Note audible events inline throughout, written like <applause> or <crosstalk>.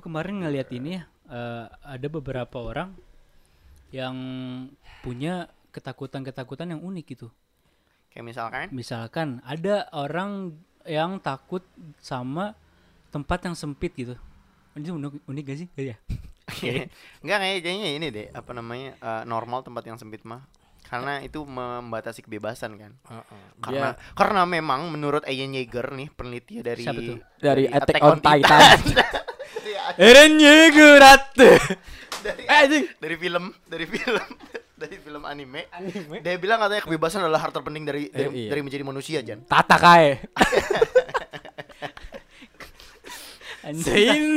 kemarin ngelihat ini ya, eh, ada beberapa orang yang punya ketakutan-ketakutan yang unik gitu. Kayak misalkan Misalkan ada orang yang takut sama tempat yang sempit gitu. Ini unik, unik gak sih? Gak ya? <laughs> Enggak kayak kayaknya ini deh, apa namanya? eh, normal tempat yang sempit mah. Karena itu membatasi kebebasan kan. Heeh. Karena Dia karena memang menurut Ian Yeager nih peneliti dari Siapa tuh? dari Attack on Titan. <laughs> Itu ya, Eren Yeagerat. dari, Eh, anjing. dari film, dari film, <laughs> dari film anime. Dia bilang katanya kebebasan adalah hal terpenting dari dari, Eh, iya. dari menjadi manusia, Jan. Tata kae. Anjing.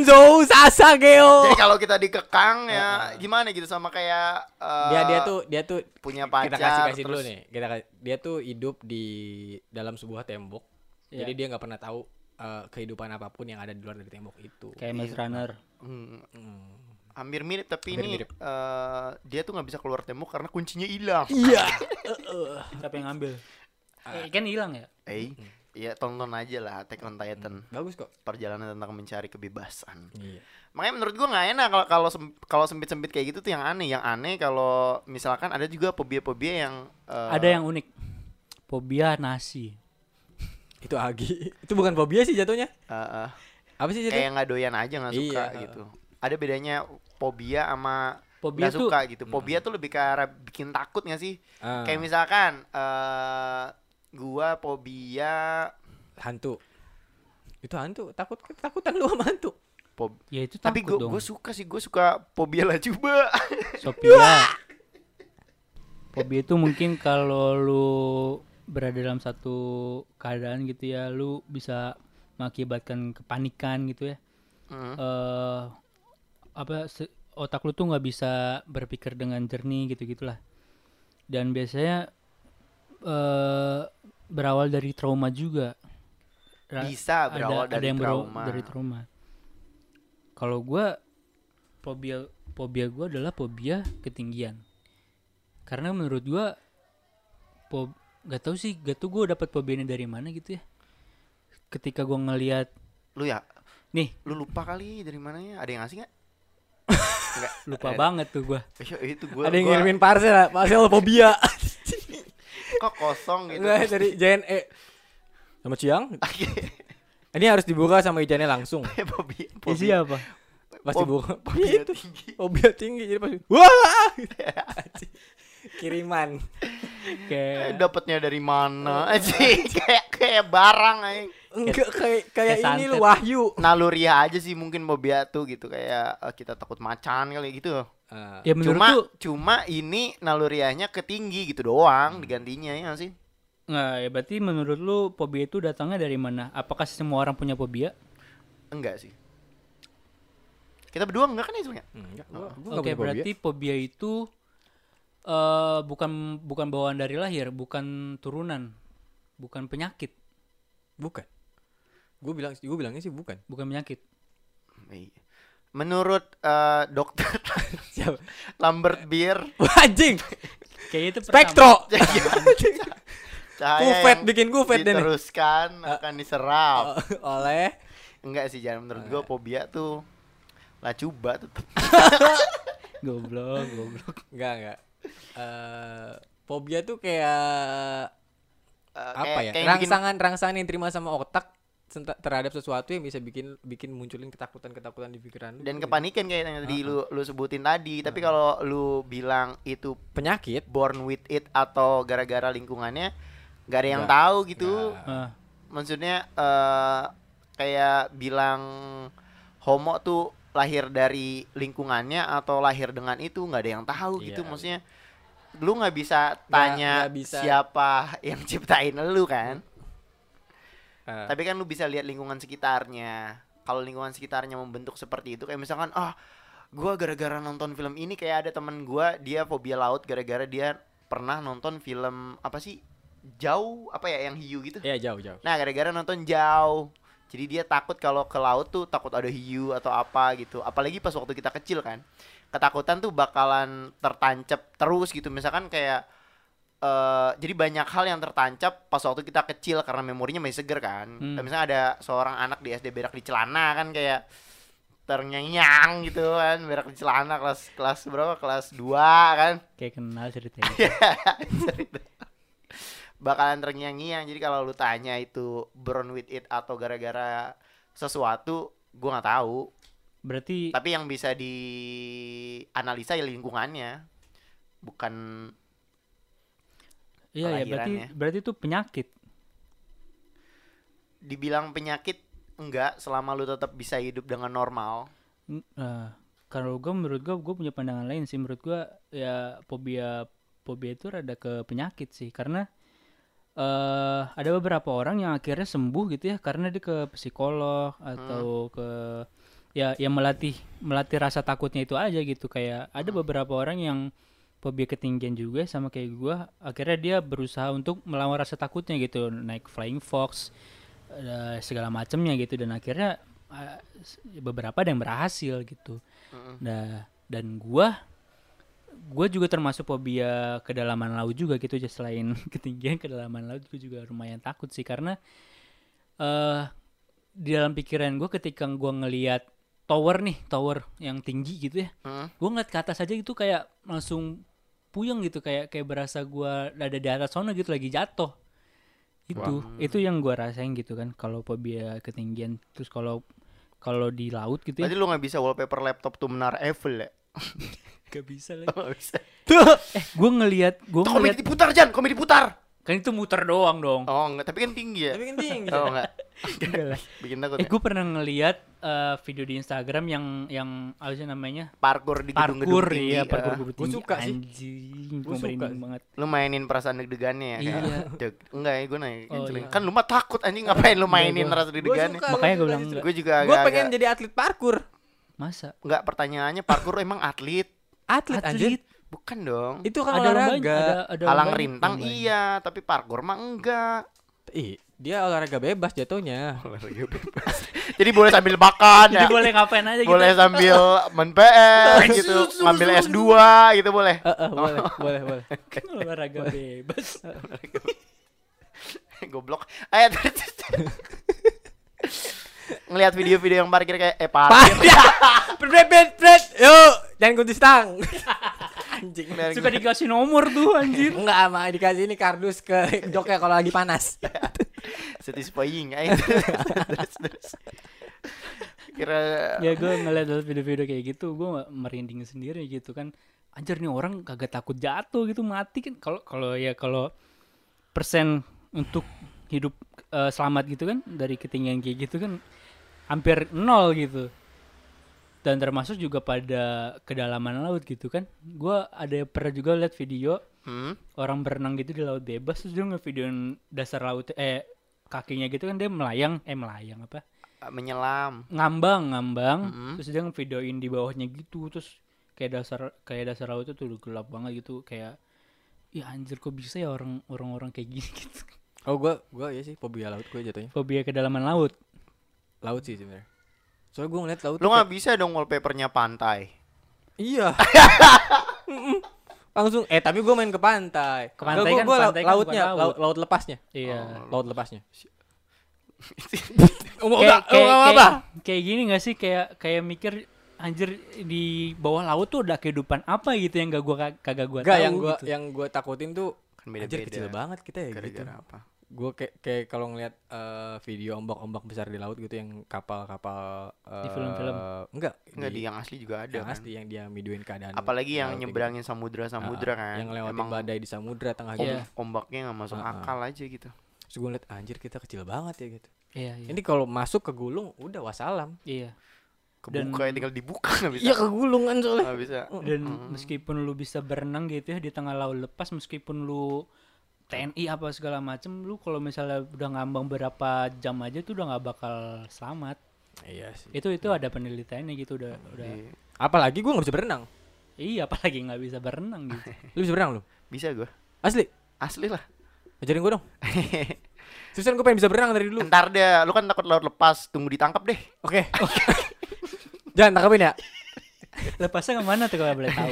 Shinzo Sasageo. Jadi kalau kita dikekang ya gimana gitu sama kayak eh, Eh, Dia dia tuh dia tuh punya pacar kita kasih kasih dulu terus nih kita ka- dia tuh hidup di dalam sebuah tembok Iya. jadi dia nggak pernah tahu eh, kehidupan apapun yang ada di luar dari tembok itu Kayak Mas Runner. Hmm, Hmm. hampir mirip tapi Hampir ini mirip. eh, dia tuh nggak bisa keluar tembok karena kuncinya hilang. iya Siapa yang ngambil? Eh, kan hilang ya? Eh, ya tonton aja lah Attack on Titan. bagus kok Perjalanan tentang mencari kebebasan. iya Makanya menurut gua nggak enak kalau kalau sem- kalau sempit-sempit kayak gitu tuh yang aneh. Yang aneh kalau misalkan ada juga fobia-fobia yang eh, Ada yang unik. Fobia nasi. itu Agi itu bukan fobia sih jatuhnya eh, eh, apa sih kayak jatuhnya nggak doyan aja nggak suka Iya. gitu. Ada bedanya fobia sama Fobia nggak tuh suka gitu. Fobia tuh lebih ke arah bikin takut nggak sih? Hmm. Ah, Kayak misalkan eh gua fobia hantu itu hantu takut ketakutan lu sama hantu fob- ya itu tapi takut gua dong. gua suka sih, gua suka fobia lah coba. <laughs> Sophia. Fobia itu mungkin kalau lu berada dalam satu keadaan gitu ya, lu bisa mengakibatkan kepanikan gitu ya. Hmm. Eh apa se- otak lu tuh nggak bisa berpikir dengan jernih gitu gitulah. Dan biasanya eh berawal dari trauma juga. Ra- Bisa berawal dari yang berawal trauma. dari trauma. Kalau gua fobia fobia gua adalah fobia ketinggian. Karena menurut gua po gak tau sih, gak tau gua dapat fobia ini dari mana gitu ya. Ketika gua ngelihat Lu ya, nih lu lupa kali dari mananya? Ada yang ngasih <laughs> nggak? Nggak. lupa Eh, banget tuh gua. iya, itu gua, ada yang gua ngirimin parcel parcel fobia kok kosong gitu. Enggak, <laughs> <laughs> dari E. JNE sama Ciang ini harus dibuka sama ijannya langsung fobia, Isi fobia, apa? pasti Fob- buka fobia itu tinggi. fobia tinggi jadi pasti wah <laughs> kiriman Eh, Kayak Dapatnya dari mana? Oh. Anjing, <laughs> kayak kayak barang aing. enggak kayak kayak kayak ini santet. lu wahyu Naluriah ya aja sih mungkin fobia tuh gitu kayak eh, kita takut macan kali gitu. Eh, ya menurut cuma lu cuma ini naluriahnya ke tinggi gitu Hmm. doang digantinya ya nggak sih? nggak ya berarti menurut lu fobia itu datangnya dari mana? Apakah semua orang punya fobia? Enggak sih. Kita berdua enggak kan ya sebenarnya? enggak gua, gua nggak ya. Oke, punya berarti fobia itu eh bukan bukan bawaan dari lahir, bukan turunan, bukan penyakit, fobia. bukan gua bilang gua bilangnya sih bukan <laughs> bukan penyakit. Iya. Menurut eh, <laughs> dokter siapa Lambert Beer, anjing Kayaknya itu pertama. spektro cahaya Kufet, yang bikin kufet deh nih. Ah. diteruskan akan diserap. <laughs> oleh Enggak sih, jangan menurut Ah. gua fobia tuh lacuba tetep Goblok, <laughs> goblok. enggak enggak Eh, fobia tuh kayak Eh, apa ya kayak- kayak yang bikin- rangsangan rangsangan yang terima sama otak senta- terhadap sesuatu yang bisa bikin bikin munculin ketakutan ketakutan di pikiran lu dan Gitu. kepanikan kayak yang tadi lu lu sebutin tadi tapi kalau lu bilang itu penyakit born with it atau gara-gara lingkungannya gak ada yang Nggak. tahu gitu Nggak. Ah, maksudnya eh kayak bilang homo tuh lahir dari lingkungannya atau lahir dengan itu nggak ada yang tahu gitu Iya. maksudnya lu nggak bisa tanya nggak bisa. siapa yang ciptain lu kan Eh, Tapi kan lu bisa lihat lingkungan sekitarnya. Kalau lingkungan sekitarnya membentuk seperti itu kayak misalkan ah gua gara-gara nonton film ini kayak ada temen gua dia fobia laut gara-gara dia pernah nonton film apa sih? Jauh apa ya yang hiu gitu. ya jauh jauh Nah, gara-gara nonton jauh. Jadi dia takut kalau ke laut tuh takut ada hiu atau apa gitu. Apalagi pas waktu kita kecil kan. Ketakutan tuh bakalan tertancap terus gitu. Misalkan kayak eh jadi banyak hal yang tertancap pas waktu kita kecil karena memorinya masih seger kan. Hmm. Misalnya ada seorang anak di SD berak di celana kan kayak ternyenyang gitu kan berak di celana kelas kelas berapa kelas 2 kan kayak kenal ceritanya Iya. Cerita. bakalan terngiang-ngiang jadi kalau lu tanya itu burn with it atau gara-gara sesuatu gua nggak tahu berarti tapi yang bisa dianalisa ya lingkungannya bukan iya ya berarti kelahirannya. berarti itu penyakit dibilang penyakit enggak selama lu tetap bisa hidup dengan normal N- eh, kalau gue menurut gue gue punya pandangan lain sih menurut gue ya fobia fobia itu rada ke penyakit sih karena eh ada beberapa orang yang akhirnya sembuh gitu ya karena dia ke psikolog atau ke ya yang melatih melatih rasa takutnya itu aja gitu kayak ada beberapa orang yang fobia ketinggian juga sama kayak gua akhirnya dia berusaha untuk melawan rasa takutnya gitu naik flying fox eh, segala macamnya gitu dan akhirnya eh, s- beberapa ada yang berhasil gitu nah dan gua gua juga termasuk fobia kedalaman laut juga gitu aja selain <laughs> ketinggian kedalaman laut gue juga lumayan takut sih karena eh di dalam pikiran gue ketika gue ngelihat tower nih tower yang tinggi gitu ya Hmm. gue ngeliat ke atas aja itu kayak langsung puyeng gitu kayak kayak berasa gue ada di atas sana gitu lagi jatuh itu itu yang gue rasain gitu kan kalau fobia ketinggian terus kalau kalau di laut gitu ya berarti lu nggak bisa wallpaper laptop tuh menar Eiffel ya <laughs> gak bisa lagi Nggak bisa. eh gue ngeliat gue Tuh, ngeliat komedi diputar Jan komedi putar kan itu muter doang dong oh enggak tapi kan tinggi ya Tapi kan tinggi. oh enggak Enggak lah. bikin takut <laughs> eh ya? gue pernah ngeliat eh, video di Instagram yang yang apa sih namanya parkur di gedung-gedung parkur tinggi ya eh. parkur gedung Ah. Gua tinggi suka sih. anjing Gua gue suka merinding sih. banget lu mainin perasaan deg-degannya ya kayak, Iya. deg- enggak ya gue nanya Oh, celing. iya. kan lu mah takut anjing ngapain lu mainin gua- rasa deg-degannya Makanya gua bilang gue juga Gue agak, pengen agak jadi atlet parkur. masa enggak pertanyaannya parkur emang atlet Atlet, anjir. atlet bukan dong Itu kan ada lombanya olahraga. ada, ada halang lombanya. rintang Lombanya. iya tapi parkur mah enggak <laughs> Ih, dia olahraga bebas jatuhnya. jadi boleh sambil makan jadi ya boleh ngapain aja gitu boleh sambil main <laughs> PS gitu ngambil S2 gitu boleh <laughs> Eh, eh, boleh, boleh, boleh. Kan olahraga bebas goblok Eh, ayo <laughs> ngelihat video-video yang parkir kayak eh <laughs> parkir Pret, pret, pret. Yuk, jangan kunci stang. Anjing. suka dikasih nomor tuh anjir Enggak, sama dikasih ini kardus ke joknya kalau lagi panas. satisfying <laughs> ayo terus terus kira ya gue ngeliat dalam video-video kayak gitu gue merinding sendiri gitu kan anjir nih orang kagak takut jatuh gitu mati kan kalau kalau ya kalau persen untuk hidup eh, selamat gitu kan dari ketinggian kayak gitu kan hampir nol gitu dan termasuk juga pada kedalaman laut gitu kan gue ada pernah juga lihat video hmm? orang berenang gitu di laut bebas terus dia ngevideoin dasar laut eh kakinya gitu kan dia melayang eh melayang apa menyelam ngambang ngambang Mhm. terus dia ngevideoin di bawahnya gitu terus kayak dasar kayak dasar laut itu tuh gelap banget gitu kayak ya anjir kok bisa ya orang orang orang kayak gini <laughs> gitu Oh, gue gue ya sih fobia laut gue jatuhnya. fobia kedalaman laut Laut sih sebenarnya. Soalnya gue ngeliat laut. lu nggak bisa dong wallpapernya pantai <laughs> Iya. Mm-mm. Langsung eh tapi gue main ke pantai. Ke pantai Gua- kan, gua- gua pantai kan bukan lautnya, laut. laut. laut lepasnya. iya Laut <laughs> lepasnya. kayak Kayak- kayak, kayak- kayak, kayak gini gak sih kayak kayak mikir anjir di bawah laut tuh ada kehidupan apa gitu yang gak gua kag- kagak gua Enggak tahu yang gue gitu. yang gue takutin tuh Kan beda-beda. anjir, kecil banget kita ya gitu. gara-gara apa Gue kayak kayak kalau ngeliat eh, video ombak-ombak besar di laut gitu yang kapal-kapal Di film-film? eh, Enggak, nggak di yang asli juga ada yang kan? asli yang dia miduin keadaan. apalagi di yang laut ya gitu. nyebrangin samudra samudra Ah, ah, kan Yang lewatin emang badai di samudra tengah Iya. gitu. ombaknya nggak masuk Ah, ah. akal aja gitu Terus gue ngeliat anjir kita kecil banget ya gitu. iya iya, Ini kalau masuk ke gulung udah wassalam. iya. Dan- kebuka ya tinggal dibuka nggak bisa Iya ke gulung kan soalnya. nggak bisa dan meskipun lu bisa berenang gitu ya di tengah laut lepas meskipun lu TNI apa segala macem lu kalau misalnya udah ngambang berapa jam aja tuh udah nggak bakal selamat Iya sih. itu itu ada penelitiannya gitu udah udah Iya. Apalagi gue nggak bisa berenang. iya apalagi nggak bisa berenang gitu Lu bisa berenang lu? bisa gue Asli? asli <laughs> lah Ajarin gue dong. Susan gue pengen bisa berenang dari dulu. ntar deh lu kan takut laut lepas tunggu ditangkap deh <laughs> Oke. Jangan <laughs> tangkapin ya. lepasnya kemana tuh kalau boleh tahu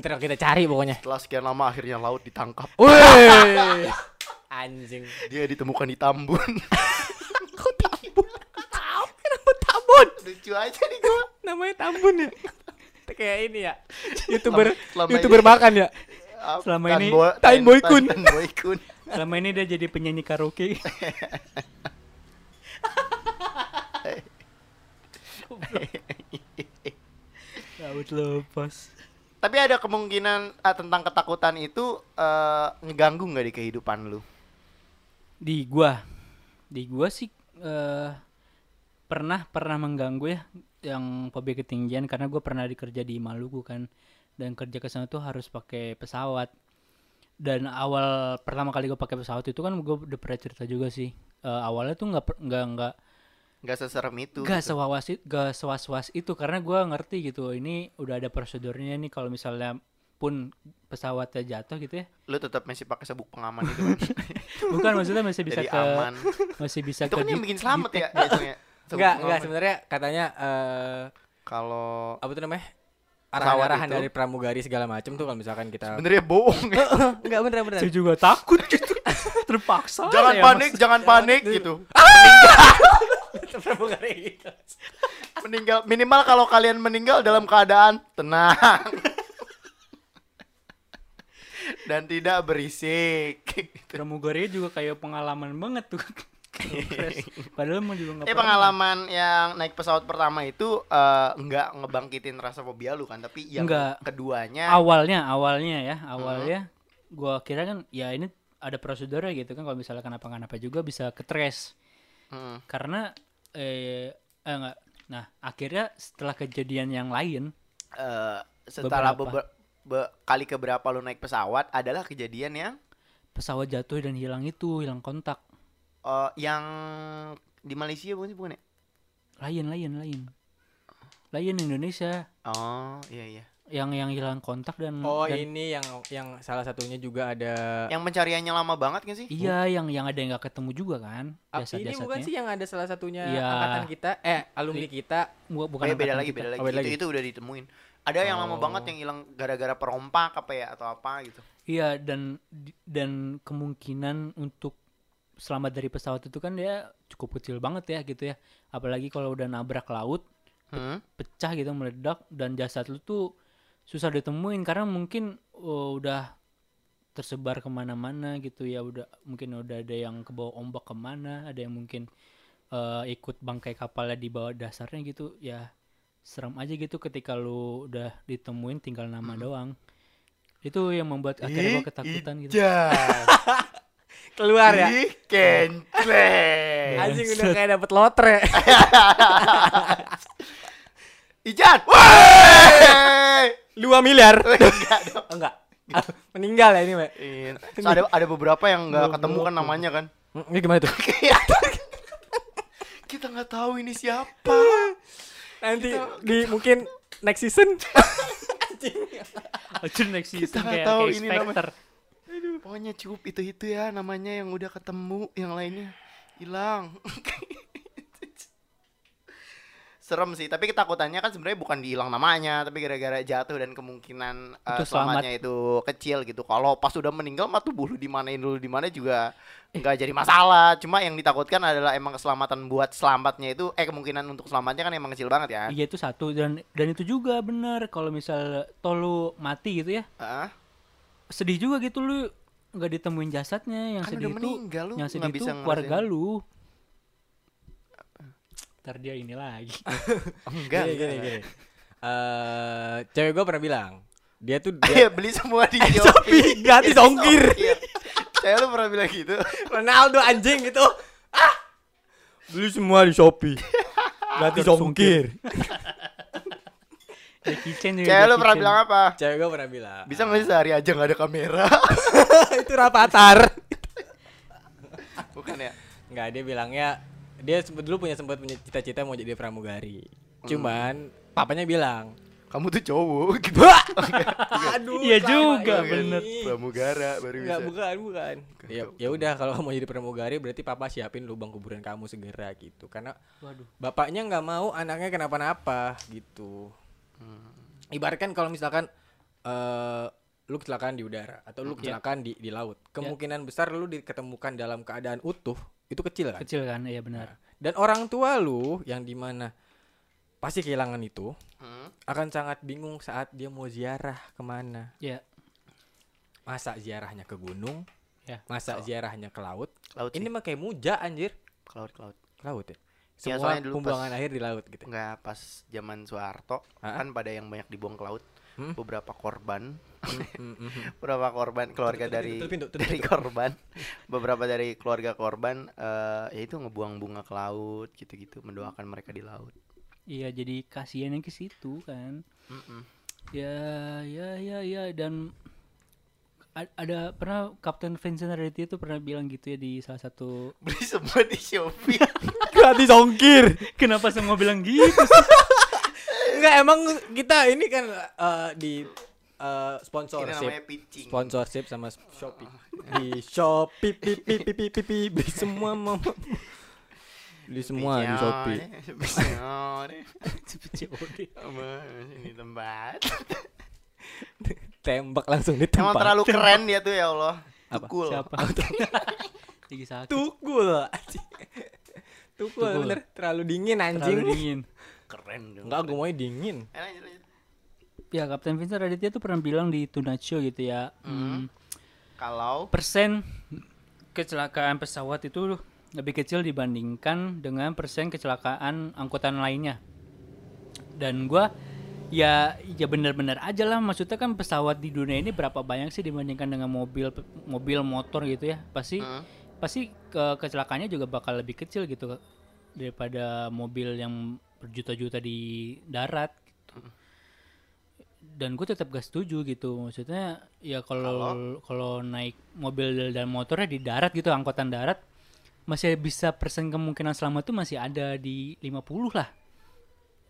Ntar kita cari pokoknya. setelah sekian lama akhirnya laut ditangkap Woi. Anjing. dia ditemukan di Tambun Kok tabun? Kenapa tabun? lucu aja nih gue namanya Tambun ya kayak ini <laughs> ya youtuber selama youtuber ini- makan ya Ah, <laughs> Selama Tan ini- Bo- Tan Boy Kun. Tan Boy Kun. Selama ini dia jadi penyanyi karaoke. Laut lepas. Tapi ada kemungkinan ah, tentang ketakutan itu eh, ngeganggu nggak di kehidupan lu? Di gua, di gua sih eh, pernah pernah mengganggu ya yang fobia ketinggian karena gua pernah dikerja di Maluku kan dan kerja ke sana tuh harus pakai pesawat. Dan awal pertama kali gua pakai pesawat itu kan gua udah pernah cerita juga sih. Eh, awalnya tuh nggak per- nggak nggak Gak seserem itu. Gak gitu. sewawas it- gak sewas-was itu karena gua ngerti gitu. Ini udah ada prosedurnya nih kalau misalnya pun pesawatnya jatuh <laughs> gitu ya. Lu tetap masih pakai sabuk pengaman <laughs> itu kan. Bukan maksudnya masih bisa ke Jadi aman. masih bisa ke Itu kan yang di- bikin selamat di- ya <laughs> biasanya. Sabuk enggak pengaman. enggak sebenarnya katanya eh Kalau apa tuh namanya Pesawat arahan-arahan itu. dari pramugari segala macam tuh kalau misalkan kita benernya bohong. <laughs> ya. <laughs> enggak bener bener Saya juga takut <laughs> gitu. Terpaksa. jangan saya, panik, Mas. jangan panik gitu. Ah! <laughs> pramugari gitu Meninggal minimal kalau kalian meninggal dalam keadaan <laughs> tenang. Dan tidak berisik. Pramugari juga kayak pengalaman banget tuh. Padahal mau juga nggak Eh pernah. pengalaman yang naik pesawat pertama itu eh, nggak ngebangkitin rasa fobia lu kan, tapi yang Nggak. keduanya awalnya awalnya ya awalnya Hmm. gua kira kan ya ini ada prosedurnya gitu kan kalau misalnya kenapa-kenapa juga bisa ketres Hmm. karena eh, eh enggak nah akhirnya setelah kejadian yang lain eh, setelah Beberapa. beber- be- kali keberapa lu naik pesawat adalah kejadian yang pesawat jatuh dan hilang itu hilang kontak eh, yang di Malaysia bukan sih bukan ya? lain lain lain lain Indonesia Oh iya iya. yang yang hilang kontak dan, oh dan- ini yang yang salah satunya juga ada Yang pencariannya lama banget kan sih? iya yang yang ada yang nggak ketemu juga kan Ah, jasa ini bukan jasanya sih yang ada salah satunya Iya. angkatan kita eh alumni kita bukan, Eh, beda angkatan lagi, kita. beda lagi. Oh, beda itu, lagi. itu udah ditemuin. Ada yang lama Oh. banget yang hilang gara-gara perompak apa ya atau apa gitu. Iya dan di- dan kemungkinan untuk selamat dari pesawat itu kan dia cukup kecil banget ya gitu ya. Apalagi kalau udah nabrak laut, Hmm? pecah gitu meledak dan jasad lu tuh susah ditemuin karena mungkin uh, udah tersebar kemana-mana gitu ya udah mungkin udah ada yang kebawa ombak kemana ada yang mungkin uh, ikut bangkai kapalnya di bawah dasarnya gitu ya serem aja gitu ketika lu udah ditemuin tinggal nama doang itu yang membuat akhirnya gua ketakutan gitu iya. <laughs> keluar ya Iya. Ih, kencleng. anjing udah kayak dapet <laughs> lotre Ijan. Wey! 2 miliar Enggak dong. Oh, enggak Ah, meninggal ya ini Mbak. Iya. So, ada ada beberapa yang nggak ketemu kan namanya kan. Hmm, ini gimana <laughs> tuh Kita nggak tahu ini siapa. nanti di mungkin next <laughs> season Anjir next season nggak kayak, tahu kayak ini Spectre. Pokoknya cukup itu-itu ya namanya yang udah ketemu, yang lainnya hilang. <laughs> Serem sih, tapi ketakutannya kan sebenarnya bukan dihilang namanya, tapi gara-gara jatuh dan kemungkinan eh, Itu selamat. selamatnya itu kecil gitu. Kalau pas udah meninggal mah tubuh lu dimanain dulu di mana juga nggak jadi masalah. Cuma yang ditakutkan adalah emang keselamatan buat selamatnya itu eh kemungkinan untuk selamatnya kan emang kecil banget ya. Iya itu satu dan dan itu juga bener kalau misal tolu mati gitu ya Heeh. sedih juga gitu lu nggak ditemuin jasadnya yang Kan sedih udah itu meninggal, lu yang nggak sedih bisa itu keluarga ngerasain. lu <laughs> ntar dia ini lagi <laughs> Enggak. gini gini gini Eh, cewek gue pernah bilang dia <laughs> tuh dia Iya, <laughs> beli semua di Iya. Shopee, gratis <laughs> ongkir. Saya lu pernah bilang gitu. Ronaldo anjing gitu ah beli semua di <laughs> Shopee gratis ongkir ya Iya, kitchen juga Cewek lu pernah kitchen. bilang apa? cewek gue pernah bilang Bisa <laughs> nggak sih sehari aja nggak ada <laughs> kamera? itu rapatar Bukan ya? Nggak, dia bilangnya dia sempet dulu punya sempat punya cita-cita mau jadi pramugari. Hmm. Cuman papanya <laughs> bilang, Kamu tuh cowok gitu. <laughs> "Aduh, Iya sama juga, ini." bener. Pramugara baru bisa. Nggak, bukan, bukan. Ya, ya udah kalau kamu mau jadi pramugari berarti papa siapin lubang kuburan kamu segera gitu. Karena waduh bapaknya nggak mau anaknya kenapa-napa gitu. Hmm. Ibaratkan kalau misalkan eh lu kecelakaan di udara atau Hmm, lu iya. kecelakaan di di laut, kemungkinan besar lu diketemukan dalam keadaan utuh itu kecil kan? kecil kan iya benar Dan orang tua lu yang dimana pasti kehilangan itu Hmm. akan sangat bingung saat dia mau ziarah kemana. Ya. Masa ziarahnya ke gunung? Ya. Masa Kalau- ziarahnya ke laut? Laut Ini ini mah kayak muja anjir. ke laut ke laut. Ke laut ya. Ya, Semua soalnya dulu pembuangan pas- air di laut <laughs> gitu. Enggak pas zaman Soeharto Ah. kan pada yang banyak dibuang ke laut. Hmm. Beberapa korban, Mm, mm, mm. beberapa korban keluarga Tutup dari pintu, tutup pintu, tutup dari korban, beberapa dari keluarga korban eh ya itu ngebuang bunga ke laut gitu-gitu, mendoakan mereka di laut. Iya jadi kasihannya ke situ kan. Mm-mm. Ya ya ya ya dan a- ada pernah Kapten Vincent Reddy itu pernah bilang gitu ya di salah satu <laughs> Beli semua di Shopee. Gratis ongkir. Kenapa semua bilang <laughs> gitu sih? Enggak emang kita ini kan eh, di eh, Ini sponsorship. namanya pitching. Sponsorship sama Shopee. Di Shopee pi pi pi pi pi pi beli semua mau. Beli Iya. semua di Shopee. <laughs> Shopee. COD. ini <laughs> tempat. Tembak langsung di Emang tempat. terlalu keren dia tuh ya Allah. Apa? Tukul. Siapa? <laughs> Lagi sakit. Tukul anjing. Tukul, Tukul. bener terlalu dingin anjing. Terlalu dingin. Keren dong. Enggak, gue mau dingin. Eh, lanjut, lanjut. Ya Kapten Vincent Raditya tuh pernah bilang di Tonight Show gitu ya. hmm, Kalau persen kecelakaan pesawat itu lebih kecil dibandingkan dengan persen kecelakaan angkutan lainnya. Dan gua ya ya benar-benar aja lah maksudnya kan pesawat di dunia ini berapa banyak sih dibandingkan dengan mobil mobil motor gitu ya pasti Hmm. pasti ke kecelakaannya juga bakal lebih kecil gitu daripada mobil yang berjuta-juta di darat gitu. Dan gue tetap gak setuju gitu. Maksudnya ya kalau kalau naik mobil dan motornya di darat gitu, angkutan darat masih bisa persen kemungkinan selamat tuh masih ada di 50 lah.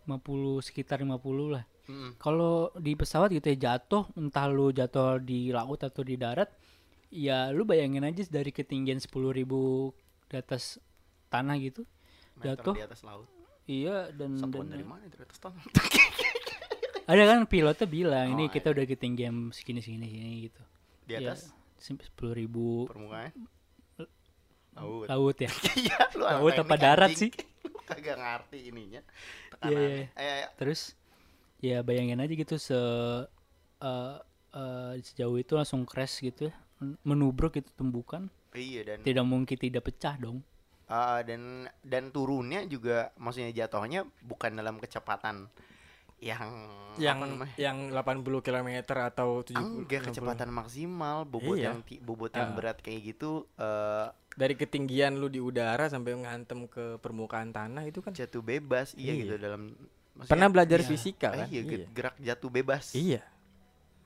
50 sekitar 50 lah. Mm-mm. Kalau di pesawat gitu ya jatuh, entah lu jatuh di laut atau di darat, ya lu bayangin aja dari ketinggian 10.000 di atas tanah gitu. meter Jatuh. di atas laut. Iya dan, Satuan dan- dari mana itu atas <laughs> tanah? ada kan pilotnya bilang ini Oh, kita udah ketinggian segini segini segini gitu. <laughs> Di atas sepuluh ribu permukaan. Laut. laut ya. <laughs> <laughs> Iya, lu anak Laut teknik, apa darat sih? anjing. <laughs> Lu kagak ngerti Iya, ininya. iya, Tekanannya. iya. Ayo, ayo. Terus ya bayangin aja gitu se eh, eh, sejauh itu langsung crash gitu ya, men- menubruk itu tumbukan. Iya dan Tidak mungkin tidak pecah dong. ah, dan dan turunnya juga maksudnya jatuhnya bukan dalam kecepatan yang Yang apa namanya? yang 80 km atau 70 enggak 60. kecepatan maksimal bobot Iya. yang ti- bobot yang Ah. berat kayak gitu eh dari ketinggian lu di udara sampai ngantem ke permukaan tanah itu kan jatuh bebas iya, Iya. gitu dalam maksudnya- pernah belajar Iya. fisika Ah, kan iya, iya. ge- gerak jatuh bebas Iya.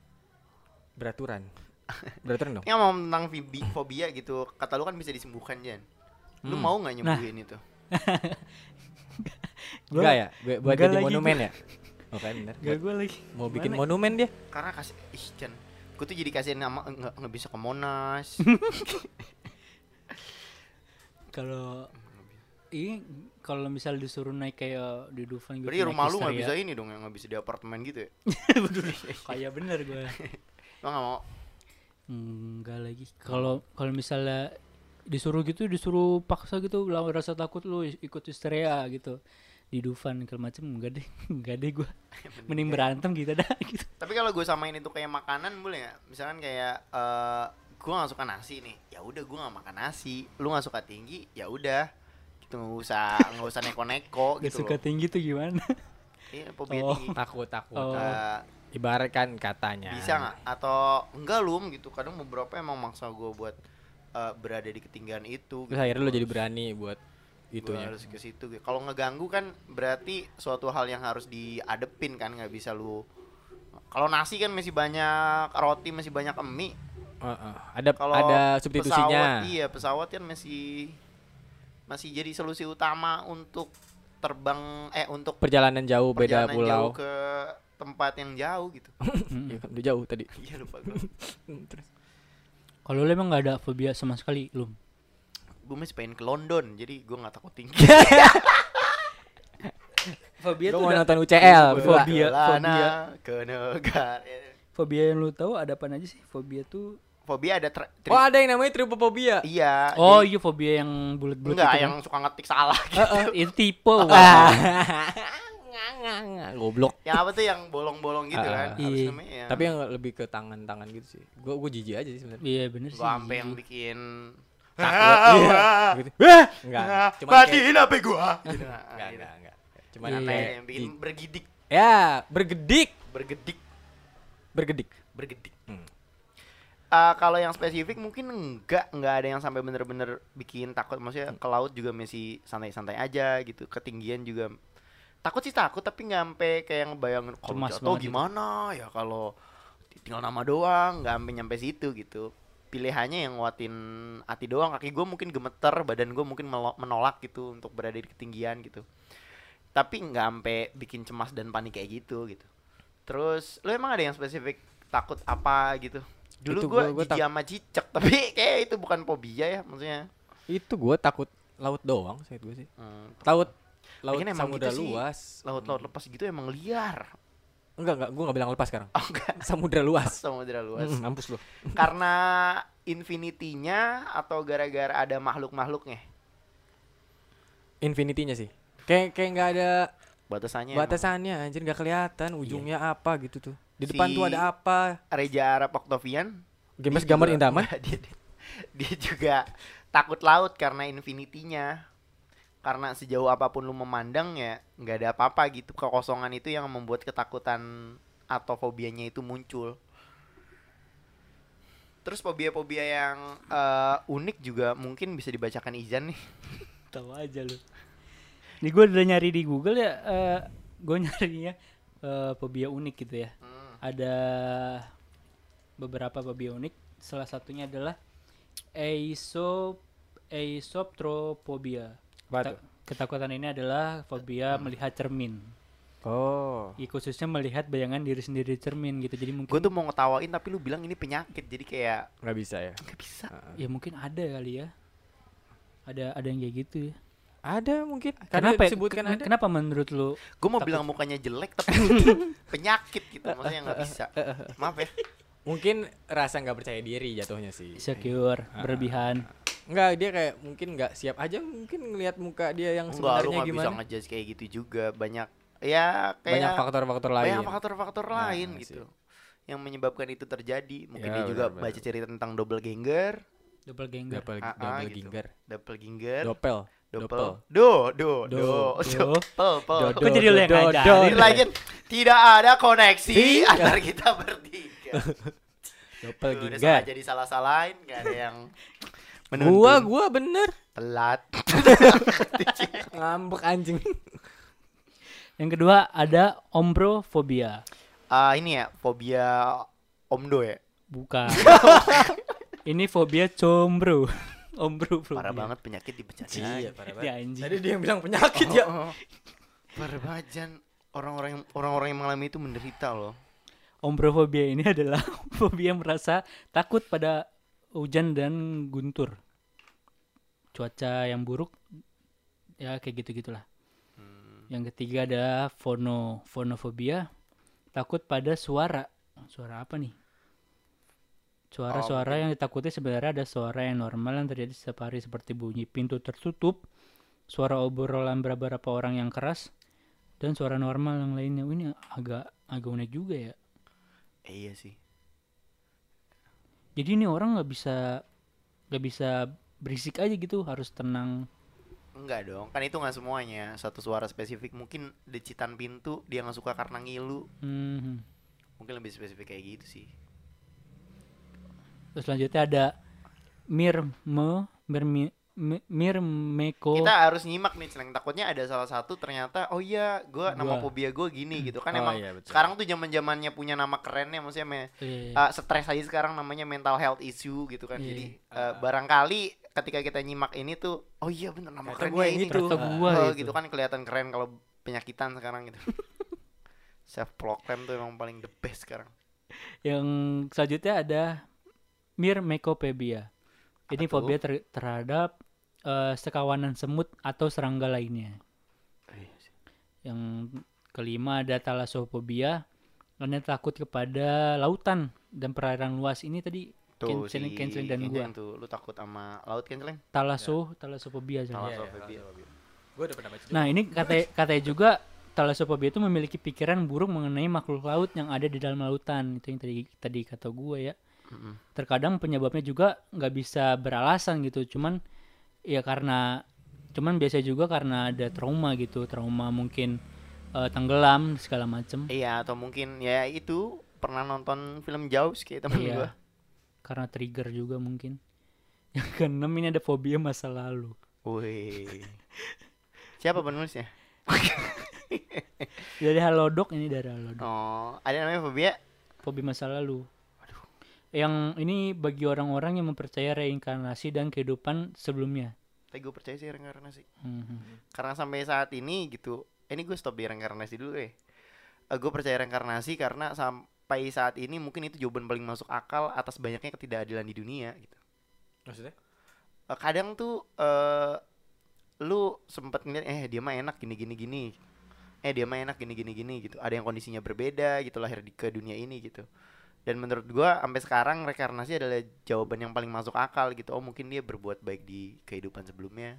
<laughs> beraturan beraturan dong Ini ngomong tentang fibi- fobia gitu kata lu kan bisa disembuhkan Jan lu Hmm. mau nggak Nah. nyembuhin itu Gua- enggak ya Gua- buat enggak jadi lagi monumen ya oke bener Gak Buat- gue lagi. mau bikin Gimana? monumen <laughs> dia karena kasih ih Jan gue tuh jadi kasihan nama nggak nggak bisa ke <laughs> Monas Kalau ini kalau misal disuruh naik kayak di Dufan gitu. berarti naik rumah lu nggak bisa Wisteria. ini dong nggak bisa di apartemen gitu ya Betul. Kayak bener <laughs> gue. lu nggak mau Enggak lagi. Kalau kalau misalnya disuruh gitu, disuruh paksa gitu, lawan rasa takut lu is- ikut histeria gitu di Dufan kalau macem enggak deh <laughs> enggak deh gue mending berantem gitu dah <laughs> gitu tapi kalau gue samain itu kayak makanan boleh nggak misalkan kayak eh gue nggak suka nasi nih ya udah gue nggak makan nasi lu nggak suka tinggi ya udah gitu nggak usah nggak usah <laughs> neko-neko gak gitu suka loh tinggi tuh gimana Iya, fobia Oh. tinggi takut takut Oh. Eh, ibaratkan katanya bisa nggak atau enggak lum gitu kadang beberapa emang maksa gue buat eh, berada di ketinggian itu gitu. terus akhirnya lu jadi ya? berani buat Gua itunya harus ke situ gitu. kalau ngeganggu kan berarti suatu hal yang harus diadepin kan nggak bisa lu kalau nasi kan masih banyak roti masih banyak mie Heeh. ada kalau pesawat, ada substitusinya iya pesawat kan masih masih jadi solusi utama untuk terbang eh untuk perjalanan jauh Oh, beda perjalanan pulau jauh ke tempat yang jauh gitu <laughs> Iya kan, udah jauh tadi Hmm, iya lupa gue terus kalau lu emang nggak ada fobia sama sekali lu gue masih pengen ke London jadi gue nggak takut tinggi <laughs> fobia Gua mau nonton UCL Fobia, berdua. fobia. Lana ke negara fobia yang lu tahu ada apa aja sih fobia tuh fobia ada tra- tri- oh ada yang namanya tripophobia <laughs> iya oh jadi- iya fobia yang bulat-bulat ya. itu kan? enggak <laughs> gitu. yang suka ngetik salah Eh, eh, itu tipe wah. Ngang, nga, nga, goblok. Yang apa tuh yang bolong-bolong gitu kan? Ah, iya. Harus namanya. ya. Tapi yang lebih ke tangan-tangan gitu sih. Gua gua jijik aja sih sebenarnya. Iya bener sih. gua sampai yang <laughs> bikin Takut. Iya, gitu. Enggak. Nah, Cuman kayak- Matiin HP gua. <laughs> Gitu. Nah, enggak, gitu. enggak, enggak. Cuman Mana kayak gitu. yang bikin gi- bergidik, Ya, bergedik, bergedik, bergedik. bergedik. Hmm. Ah, kalau yang spesifik mungkin enggak enggak ada yang sampai bener-bener bikin takut maksudnya Hmm. ke laut juga masih santai-santai aja gitu ketinggian juga takut sih takut tapi nggak sampai kayak yang bayangin kalau Cemas jatuh banget gitu. gimana ya kalau tinggal nama doang nggak sampai nyampe situ gitu pilihannya yang nguatin hati doang kaki gue mungkin gemeter badan gue mungkin melo- menolak gitu untuk berada di ketinggian gitu tapi nggak sampai bikin cemas dan panik kayak gitu gitu terus lu emang ada yang spesifik takut apa gitu Itu dulu gue gua- gua jijik tak- sama cicak <laughs> tapi kayak itu bukan fobia ya maksudnya Itu gua takut laut doang sih gua sih. Hmm, Laut laut Lagian emang samudra gitu sih, luas. Hmm. laut-laut lepas gitu emang liar <laughs> Enggak, enggak, gua enggak bilang lepas sekarang. oh enggak <laughs> Samudra luas. samudra luas Mm, Mampus lu. <laughs> karena infinity-nya atau gara-gara ada makhluk-makhluknya Infinity-nya sih. Kayak kayak enggak ada batasannya Iya, emang. batasannya anjir enggak kelihatan ujungnya apa gitu tuh. Di depan tuh Si- ada apa? Reja Arab Octavian Games dia gambar juga- indaman. enggak, Gitu. <laughs> dia, dia- dia juga takut laut karena infinity-nya karena sejauh apapun lu memandang ya nggak ada apa-apa gitu kekosongan itu yang membuat ketakutan atau fobianya itu muncul terus fobia-fobia yang eh, unik juga mungkin bisa dibacakan Izan nih Tahu aja lu. Ini gue udah nyari di Google ya, eh gue <laughs> nyarinya eh fobia unik gitu ya. Ada beberapa fobia unik. Salah satunya adalah aesop aesoptrophobia. Apa Ta- tuh? Ketakutan ini adalah fobia melihat cermin. Oh. Ya, khususnya melihat bayangan diri sendiri di cermin gitu. Jadi mungkin gue tuh mau ngetawain tapi lu bilang ini penyakit jadi kayak Enggak bisa ya. nggak bisa ya mungkin ada kali ya. Ada ada yang kayak gitu ya. Ada mungkin. Karena Kenapa? ya? disebutkan Ken- ada. Kenapa menurut lu gue mau bilang mukanya jelek tapi penyakit gitu maksudnya nggak bisa maaf ya Mungkin rasa nggak percaya diri jatuhnya sih. insecure, berlebihan? Enggak, dia kayak mungkin nggak siap aja mungkin ngelihat muka dia yang Enggak, lu sebenarnya nggak bisa gimana. ngejudge kayak gitu juga banyak ya kayak Banyak faktor-faktor lain. banyak faktor-faktor Nah, lain sih. gitu yang menyebabkan itu terjadi mungkin Ya, dia juga benar-benar. baca cerita tentang double ganger Doppelganger. Double, Ah, ah, double gitu. ginger. double ganger Dopel. Dopel. double do do Do, <laughs> do do. double Do, double Kok jadi lu yang do, ngajarin? do, Ini do. lagi tidak ada koneksi Si. <laughs> antara kita bertiga <laughs> Dopel Tuh, udah ginger. salah jadi salah salahin nggak ada <laughs> yang menuntun Gua gua bener. <laughs> telat Ngambek anjing. Yang kedua ada ombrofobia. Ah, ini ya fobia omdo ya <laughs> Bukan. Ini fobia combro. Ombro parah banget penyakit di Iya, Ya parah banget. anjing. Tadi dia yang bilang penyakit ya. Oh, oh. Parah banget, Jan. orang-orang yang orang-orang yang mengalami itu menderita loh. Ombrofobia ini <laughs> adalah fobia merasa takut pada hujan dan guntur. Cuaca yang buruk ya kayak gitu-gitulah. Yang ketiga ada fono fonofobia. Takut pada suara. Suara apa nih? Suara-suara yang ditakuti sebenarnya ada suara yang normal yang terjadi setiap hari seperti bunyi pintu tertutup, suara obrolan beberapa orang yang keras, dan suara normal yang lainnya. Oh, Ini agak agak unik juga ya. Eh, iya sih. Jadi ini orang nggak bisa nggak bisa berisik aja gitu, harus tenang. Enggak dong, kan itu nggak semuanya. Satu suara spesifik mungkin decitan pintu dia nggak suka karena ngilu. Mhm. Mungkin lebih spesifik kayak gitu sih. Terus selanjutnya ada mirme mirmi mi- mirmeko Kita harus nyimak nih, Celeng. Takutnya ada salah satu ternyata oh iya, gua nama Gua. fobia gua gini gitu. Kan Oh, emang iya, betul. sekarang tuh zaman-zamannya punya nama kerennya maksudnya me- Eh, Ah, stres aja sekarang namanya mental health issue gitu kan. Iya. Jadi eh, barangkali ketika kita nyimak ini tuh oh iya bener nama Ternyata kerennya gua yang ini itu. Ah, tuh. Ternyata gua Oh, itu. gitu kan kelihatan keren kalau penyakitan sekarang <laughs> gitu. Self proclaim tuh emang paling the best sekarang. yang selanjutnya ada mirmekopebia. Ini Apa tuh? fobia ter- terhadap eh, sekawanan semut atau serangga lainnya. Eh, Yang kelima ada talasophobia. Karena takut kepada lautan dan perairan luas ini tadi Tuh Canceling- si canceling dan Kenjeng gua. tuh lu takut sama laut canceling? Ya. talaso, talasophobia. Iya, Talasophobia. Gua udah pernah baca. Nah ini kata Nah, katanya juga Talasophobia itu memiliki pikiran buruk mengenai makhluk laut yang ada di dalam lautan. Itu yang tadi tadi kata gue ya. Terkadang penyebabnya juga nggak bisa beralasan gitu, cuman ya karena cuman biasa juga karena ada trauma gitu, trauma mungkin eh, tenggelam segala macem. Iya atau mungkin ya itu pernah nonton film jauh kayak temen Iya. gua. Karena trigger juga mungkin. <laughs> Yang keenam ini ada fobia masa lalu. <laughs> Wih. Siapa penulisnya? Dari Halodoc ini dari Halodoc. Oh, ada namanya fobia. Fobia masa lalu. Yang ini bagi orang-orang yang mempercaya reinkarnasi dan kehidupan sebelumnya. Tapi gue percaya sih reinkarnasi. Mhm. Karena sampai saat ini gitu, eh, ini gue stop di reinkarnasi dulu deh. Eh gue percaya reinkarnasi karena sampai saat ini mungkin itu jawaban paling masuk akal atas banyaknya ketidakadilan di dunia gitu. Maksudnya? Eh, kadang tuh eh lu sempet ngeliat eh dia mah enak gini gini gini. Eh dia mah enak gini gini gini gitu. Ada yang kondisinya berbeda gitu lahir di ke dunia ini gitu. Dan menurut gua sampai sekarang reinkarnasi adalah jawaban yang paling masuk akal gitu. Oh mungkin dia berbuat baik di kehidupan sebelumnya.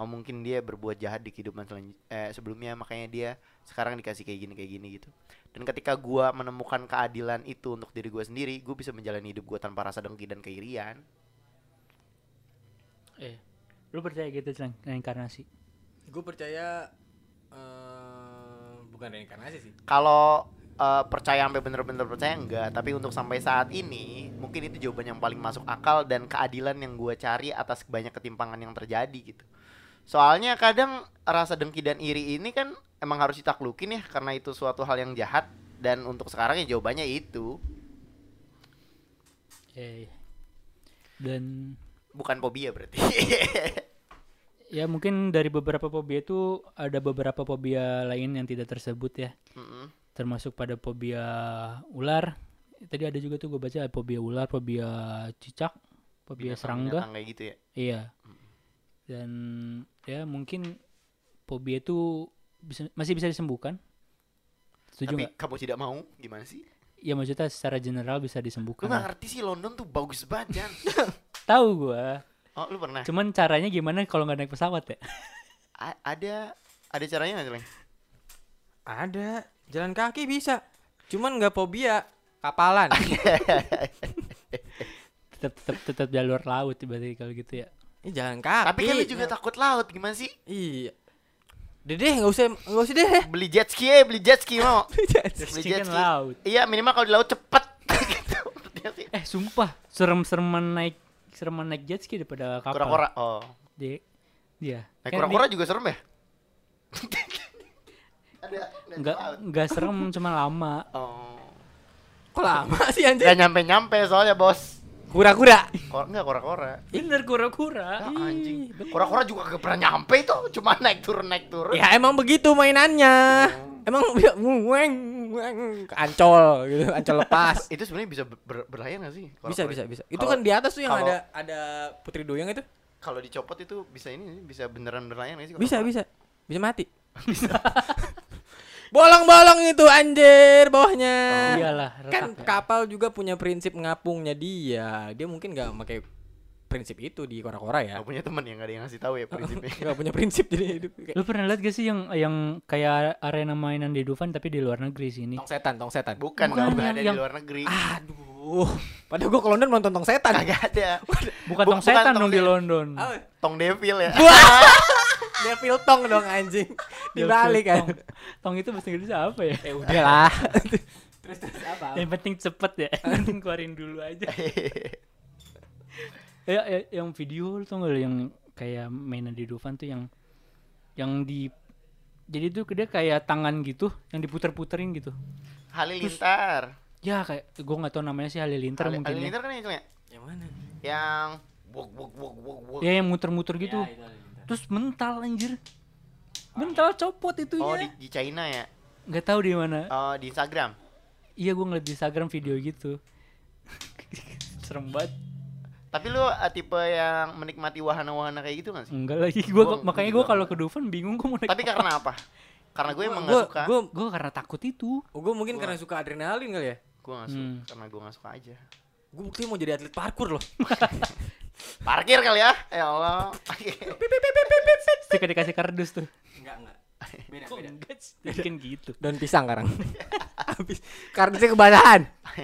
Oh mungkin dia berbuat jahat di kehidupan selan- eh, sebelumnya makanya dia sekarang dikasih kayak gini kayak gini gitu. Dan ketika gua menemukan keadilan itu untuk diri gua sendiri, gua bisa menjalani hidup gua tanpa rasa dengki dan keirian. Eh, lu percaya gitu tentang reinkarnasi? Gue percaya eh, bukan reinkarnasi sih. kalau eh, percaya sampai bener-bener percaya enggak tapi untuk sampai saat ini mungkin itu jawaban yang paling masuk akal dan keadilan yang gua cari atas banyak ketimpangan yang terjadi gitu soalnya kadang rasa dengki dan iri ini kan emang harus ditaklukin ya karena itu suatu hal yang jahat dan untuk sekarang ya jawabannya itu Eh. Dan bukan fobia berarti <laughs> ya mungkin dari beberapa fobia itu ada beberapa fobia lain yang tidak tersebut ya. Mm-mm. termasuk pada fobia ular tadi ada juga tuh gue baca ada fobia ular fobia cicak fobia serangga Binatang kayak gitu ya iya dan ya mungkin fobia itu bisa, masih bisa disembuhkan setuju tapi nggak kamu tidak mau gimana sih ya maksudnya secara general bisa gue disembuhkan nggak ngerti sih London tuh bagus banget Jan tahu gua <laughs> oh lu pernah cuman caranya gimana kalau nggak naik pesawat ya <laughs> A- ada ada caranya nggak Leng? Ada. Jalan kaki bisa. Cuman nggak fobia. <laughs> Kapalan. tetap tetap tetap jalur laut berarti kalau gitu <laughs> ya Ini jalan kaki. tapi kan lu juga ya. takut laut gimana sih Iya. Dedeh nggak usah nggak usah deh. beli jet ski ya beli jet ski <laughs> mau beli Kan jet ski laut iya minimal kalau di laut cepet <laughs> gitu Ngerti nggak sih? eh sumpah serem-sereman naik sereman naik jet ski daripada kapal kura-kura oh Dia, dia. nah, Kan kura-kura dia juga serem <laughs> ya ada ada di nggak laut nggak <laughs> serem cuma lama. oh Kok lama <laughs> sih anjir? nggak nyampe-nyampe soalnya bos Kura-kura. Kor nggak kura-kura Bener kura-kura. Ah, anjing kura-kura juga gak pernah nyampe itu cuma naik turun naik turun Ya emang begitu mainannya. Emang weng weng ancol gitu, ancol lepas. itu sebenarnya bisa ber- ber- berlayar nggak sih bisa kura-kura bisa itu? bisa. Itu Kalau- kan di atas tuh yang kalau- ada ada putri duyung itu. kalau dicopot itu bisa ini bisa beneran berlayar nggak sih Bisa kura-kura? bisa. <laughs> Bisa mati. Bolong-bolong itu anjir bawahnya. Oh, Iyalah, kan retak ya. kapal juga punya prinsip ngapungnya dia. Dia mungkin nggak pakai prinsip itu di kora-kora ya. nggak punya temen yang nggak ada yang ngasih <laughs> tahu ya prinsipnya Nggak punya prinsip jadi hidup kayak Lu pernah lihat gak sih yang yang kayak arena mainan di Dufan tapi di luar negeri sini? tong setan, tong setan. Bukan, bukan nggak yang- ada di yang- Ah. luar negeri Aduh. Padahal gua ke London nonton tong setan. <laughs> Kagak ada. Bukan Bu- tong setan tong dong di de- London. Apa? Tong devil ya. <laughs> <laughs> Devil tong dong anjing. Dia Dibalik pakai kan. Tong, Iya, Tong itu bahasa Inggrisnya apa ya? Eh udah <laughs> lah. terus terus apa? Yang penting cepet ya. Yang penting keluarin dulu aja. Ya, ya, yang video lu tau gak lu yang kayak mainan di Dufan tuh yang yang di jadi tuh dia kayak tangan gitu yang diputer-puterin gitu. Halilintar. Ya kayak gue nggak tahu namanya sih Halilintar Hali- mungkin ya. Halilintar kan yang itu ya? Yang mana? Yang wuk wuk wuk wuk wuk. Ya yang muter-muter gitu. Terus mental anjir. Mental copot itu Oh di, ya. di China ya? Nggak tahu di mana. Oh di Instagram. Iya gue ngeliat di Instagram video gitu. <laughs> Serem banget. Tapi lu eh, tipe yang menikmati wahana-wahana kayak gitu kan <laughs> sih? Enggak lagi gua kan- Gua- makanya gua gue juga kalau ke Dufan bingung gue mau naik. Tapi karena apa? Karena gue emang Gua- gak suka. gue gue karena takut itu. Gue mungkin karena suka adrenalin kali ya. Gue gak suka. Hmm. Karena gue gak suka aja. Gue bukti mau jadi atlet parkur loh. Parkir kali ya? Ya Allah. <laughs> Suka dikasih kardus tuh. Enggak enggak. Beda, Kok enggak sih? Tadi kan gitu. Daun pisang sekarang. <laughs> Habis kardusnya kebasahan.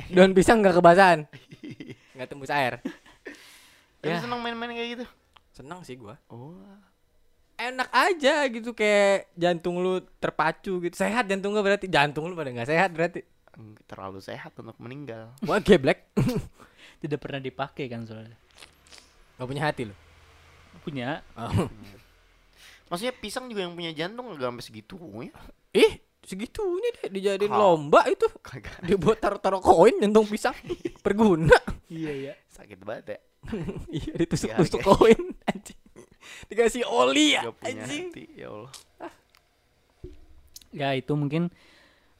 Daun pisang nggak kebasahan. Nggak tembus air. Lu Ya. seneng main-main kayak gitu? Senang sih gua. Oh. Enak aja gitu kayak jantung lu terpacu gitu. Sehat jantung gua berarti. Jantung lu pada nggak sehat berarti. Eng- Terlalu sehat untuk meninggal. Wah <laughs> geblek. Tidak pernah dipakai kan soalnya. Gak punya hati lu. Punya. Oh. Maksudnya pisang juga yang punya jantung nggak sampai ya. segitunya. Ih, segitunya deh dijadiin Kak. lomba itu. Kagak. Dibuat taruh-taruh koin jantung pisang. Berguna. <laughs> Iya ya. Sakit banget ya. iya, ditusuk-tusuk Dihargai. koin anjing. Dikasih oli ya Gak punya anjing. hati. Ya Allah. Ya itu mungkin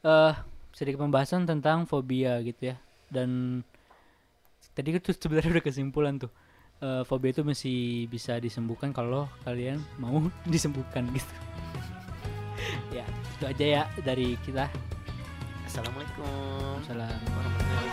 eh sedikit pembahasan tentang fobia gitu ya. Dan tadi itu sebenarnya <laughs> udah kesimpulan tuh. Eh, fobia itu masih bisa disembuhkan kalau kalian mau <laughs> disembuhkan gitu. <laughs> ya, itu aja ya dari kita. Assalamualaikum. Salam. Warahmatullahi wabarakatuh.